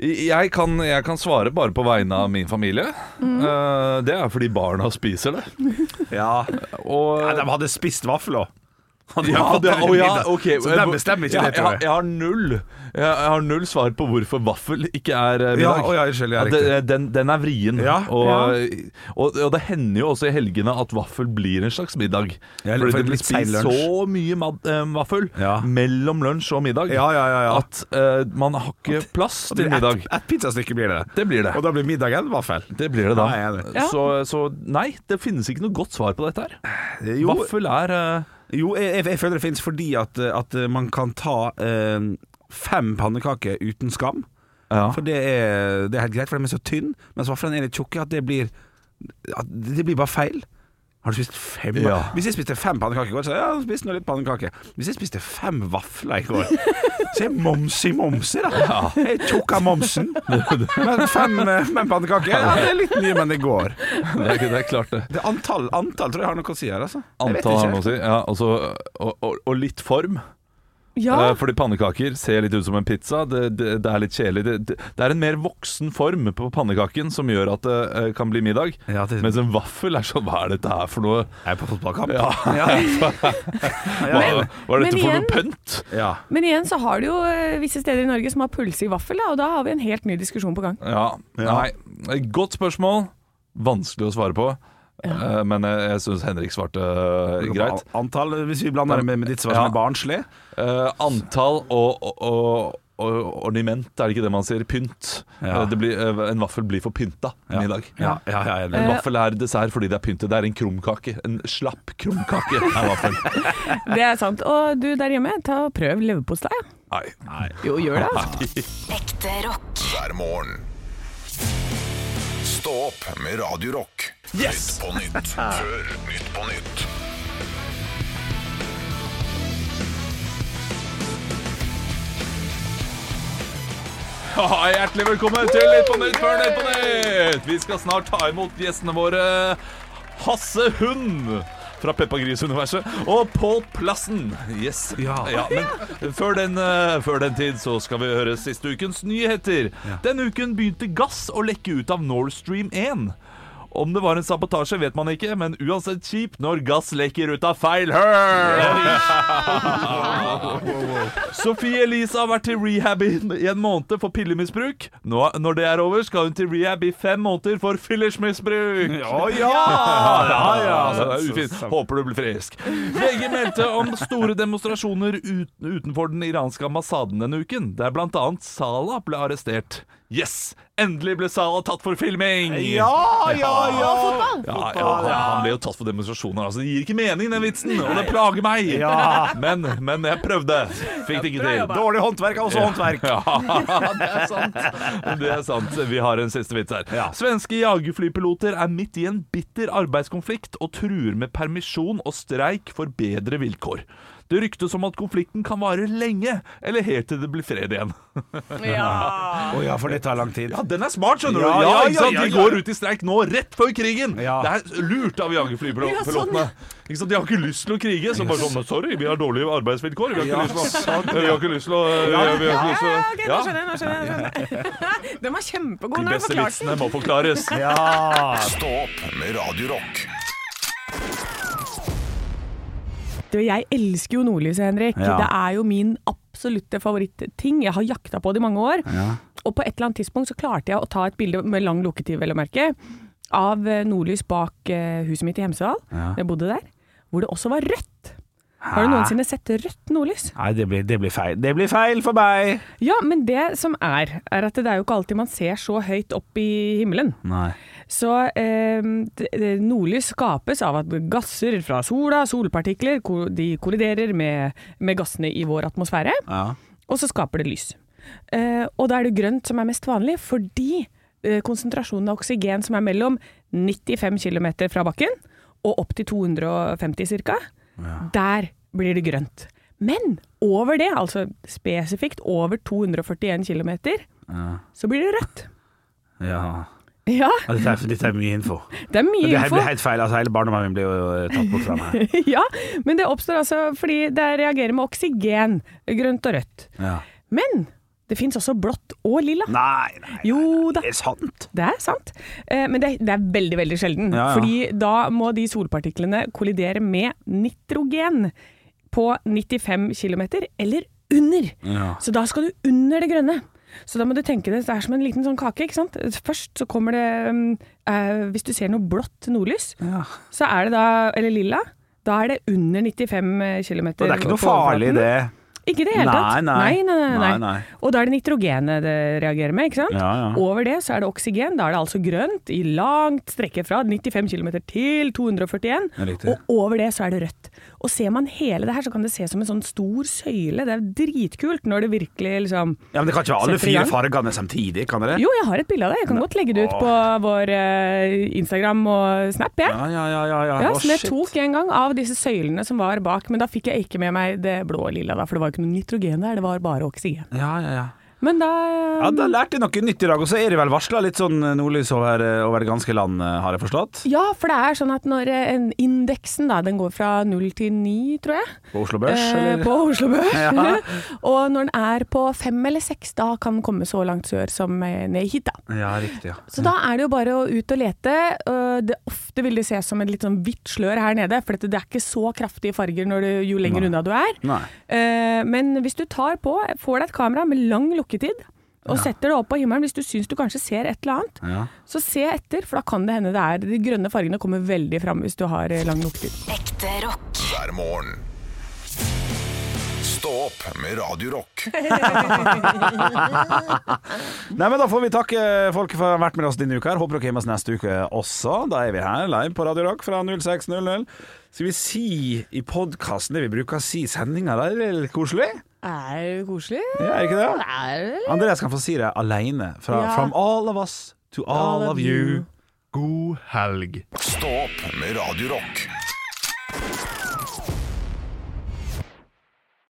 jeg, kan, jeg kan svare bare på vegne av min familie.
Mm.
Øh, det er fordi barna spiser det. Og
Nei, de hadde spist vafler.
Ja, det, å, ja, ok.
Så de bestemmer ikke
jeg,
det, tror
jeg.
jeg.
Jeg har null Jeg, jeg har null svar på hvorfor vaffel ikke er eh,
Ja,
middag.
å, ja, unnskyld, ja,
Ja, det- den, den er vrien.
Ja.
og, Og, og det hender jo også i helgene at vaffel blir en slags middag.
Ja, eller for
Fordi det
en
blir
litt sein
spist
lunsj.
så mye mad, eh, vaffel
Ja.
mellom lunsj og middag
Ja, ja, ja, ja.
at eh, man har ikke plass til middag.
Et, et pizzastykke blir det.
Det blir det.
Og da blir middagen vaffel.
Det blir det da.
Ja, jeg er enig.
Ja.
Så, så nei, det finnes ikke noe godt svar på dette her.
Jo,
Vaffel er eh,
jo jeg, jeg- jeg føler det finnes fordi at, at man kan ta eh, fem pannekaker uten skam.
ja.
For det er, det er helt greit, for de er så tynne. Mens vaflene er litt tjukke. At det blir, at det blir bare feil. Har du spist fem?
Ja.
Hvis jeg spiste fem pannekaker i går, så ja, jeg spiste nå litt pannekaker. Hvis jeg spiste fem vafler i går, så er jeg momsi momsi, da. Jeg er tjukk av momsen. Men fem, eh, fem pannekaker, ja, det er litt mye, men det går.
Det, er, det er klart, det.
Det er antall, antall tror jeg har noe å si her, altså. Jeg vet
Antall har
ikke.
noe å si. Ja, altså, og, og, og litt form.
Ja.
Eh, Fordi pannekaker ser litt ut som en pizza. Det, det, det er litt kjedelig. Det, det, det er en mer voksen form på pannekaken som gjør at det eh, kan bli middag.
Ja, det-
Mens en vaffel er sånn Hva er dette her for noe?
Jeg er på fotballkamp.
Ja. Hva, hva er
men
dette for
igjen-
noe pynt?
Ja.
Men igjen så har du jo eh, visse steder i Norge som har pølse i vaffel, da, og da har vi en helt ny diskusjon på gang.
Ja. Nei. Godt spørsmål. Vanskelig å svare på. Eh, Men jeg, jeg syns Henrik svarte eh, greit.
Antall, hvis vi blander det med, med ditt svar som
Ja.
er barnslig.
Eh, antall og, og, og, og ornament, er det ikke det man sier? Pynt.
Ja.
Eh, det blir, eh, en vaffel blir for pynta middag.
Ja, ja, ja, jeg er
En
enig.
vaffel Eh, er dessert fordi det er pyntet. Det er en krumkake. En slapp krumkake er vaffel.
Det er sant. Og du der hjemme, ta og prøv leverpostei. ja.
Nei.
Jo, gjør det. altså.
Ekte rock.
hver morgen. Stå opp med Radio Rock. Nytt på nytt før Nytt på nytt.
Ja, hjertelig velkommen til Nytt på Nytt før Nytt på Nytt! Vi skal snart ta imot gjestene våre Hasse Hund fra Peppa Gris-universet og Pål Plassen. Yes.
Ja.
men før den, eh, før den tid så skal vi høre siste ukens nyheter. Denne uken begynte gass å lekke ut av Nord Stream 1. Om det var en sabotasje, vet man ikke, men uansett kjipt når gass lekker ut av feil høl! Sofie Elise har vært til rehab i i en måned for pillemisbruk. Nå, når det er over, skal hun til rehab i fem måneder for fillersmisbruk.
Å, ja!
Ja, ja, så det er ufint. Håper du blir frisk. VG meldte om store demonstrasjoner ut- utenfor den iranske ambassaden denne uken, der bl.a. Salah ble arrestert. Yes! Endelig ble Salah tatt for filming!
Ja, ja, ja!
Ja, ja, ja, han ble jo tatt for demonstrasjoner. Altså, det gir ikke mening, den vitsen, og det plager meg.
Ja.
Men, men jeg prøvde. Fikk det ikke til.
Eh, Dårlig håndverk altså. er også håndverk.
Ja, det er sant. Det er sant. Vi har en siste vits her.
Ja.
Svenske jagerflypiloter er midt i en bitter arbeidskonflikt og truer med permisjon og streik for bedre vilkår. Det ryktes om at konflikten kan vare lenge, eller helt til det blir fred igjen.
Å ja, for det tar lang tid.
Ja, Den er smart,
Ja,
skjønner
ja,
du. Ja, ikke sant?
ja, ja,
De
ja.
går ut i streik nå, rett før krigen.
Ja.
Det er lurt av
Ja,
jagerflypilotene.
sånn,
Ikke sant? De har ikke lyst til å krige. Så bare sånn Sorry, vi har dårlige arbeidsvilkår. Vi har ikke lyst til å Vi har ikke lyst til å eh, vi har ikke lyst til å-
Ja, ok, nå skjønner jeg. nå skjønner jeg, nå skjønner jeg. Den var kjempegod
De
når jeg
beste
forklarte den.
vitsene må forklares.
Stå opp med Radio Rock.
Du, jeg elsker jo nordlyset, Henrik.
Ja.
Det er jo min absolutte favoritting. Jeg har jakta på det i mange år. Og på et eller annet tidspunkt så klarte jeg å ta et bilde med lang lukketid, vel å merke, av eh, nordlys bak eh, huset mitt i Hemsedal, da jeg bodde der, hvor det også var rødt. Har du noensinne sett rødt nordlys?
Nei, det blir, det blir feil. Det blir feil for meg!
Ja, men det som er, er at det er jo ikke alltid man ser så høyt opp i himmelen.
Nei.
Så eh, d- d- nordlys skapes av at gasser fra sola, solpartikler, ko- de kolliderer med, med gassene i vår atmosfære,
Ja.
og så skaper det lys. Eh, og da er det grønt som er mest vanlig, fordi eh, konsentrasjonen av oksygen som er mellom 95 km fra bakken og opp til 250 ca., der blir det grønt. Men over det, altså spesifikt over 241 km, så blir det rødt.
ja.
Ja,
Ja, Dette er, dette er mye info.
det er mye
Det her
info.
blir helt feil. Altså, hele barndommen min blir jo eh, tatt bort fra meg.
ja, men det oppstår altså fordi det reagerer med oksygen, grønt og rødt.
Ja.
Men det fins også blått og lilla.
Nei, nei.
Jo da.
Det er sant.
Det er sant, Eh, men det, det er veldig veldig sjelden.
Ja, ja.
Fordi da må de solpartiklene kollidere med nitrogen på 95 km eller under.
Ja.
Så da skal du under det grønne. Så da må du tenke det, det er som en liten sånn kake. ikke sant? Først så kommer det mm, eh, Hvis du ser noe blått nordlys,
Ja.
så er det da, eller lilla, da er det under eh, 95 km.
Og det er ikke noe farlig, det.
Ikke i det hele
Nei,
tatt.
nei.
Nei, nei, nei,
Nei,
nei.
nei.
Og da er det nitrogenet det reagerer med, ikke sant?
Ja, ja.
Over det så er det oksygen, da er det altså grønt i langt strekke fra 95 km til 241,
Ja, riktig.
og over det så er det rødt. Og ser man hele det her, så kan det se som en sånn stor søyle, det er dritkult når det virkelig liksom
Ja, men Det kan ikke være alle
Setter i
fire
gang.
fargene samtidig, kan det?
Jo, jeg har et bilde av det, jeg kan godt legge det ut på vår eh, Instagram og Snap, jeg.
Ja, ja, ja. ja, ja.
Ja,
Å,
så det
shit.
tok jeg en gang av disse søylene som var bak, men da fikk jeg ikke med meg det blå og lilla, da, for det var jo ikke noe nitrogen der, det var bare oksygen.
Ja, ja, ja.
Men da mm,
Ja, Da lærte jeg noe nytt i dag, og så er det vel varsla litt sånn nordlys over, over det ganske land, eh, har jeg forstått.
Ja, for det er sånn at når eh, en- indeksen da, den går fra 0 til 9, tror jeg.
På Oslo Børs,
Eh,
eller?
på Oslo Børs.
Ja.
og når den er på fem eller seks, da kan den komme så langt sør som eh, ned hit. da.
Ja, riktig, ja.
Så da er det jo bare å ut og lete. Eh, Det, ofte vil det ses som et litt sånn hvitt slør her nede, for dette, det er ikke så kraftige farger når du, jo lenger unna du er.
Nei.
Eh, Men hvis du tar på, får deg et kamera med lang lukketid, og setter det opp på himmelen hvis du syns du kanskje ser et eller annet,
Ja.
så se etter, for da kan det hende det er De grønne fargene kommer veldig fram hvis du har eh, lang lukketid.
Ekte rock.
hver morgen. Stå opp med Radio Rock.
Nei, men Da får vi takke folk for å ha vært med oss denne uka. her Håper dere er med oss neste uke også. Da er vi her live på Radio Rock fra 06.00. Skal vi si i podkasten det vi bruker å si i sendinga? Det er litt koselig?
Er det koselig?
Ja, er ikke det?
Er det litt
Andreas kan få si det aleine. Fra
Ja.
'From all of us to all, of you'.
God helg.
Stå opp med Radio Rock.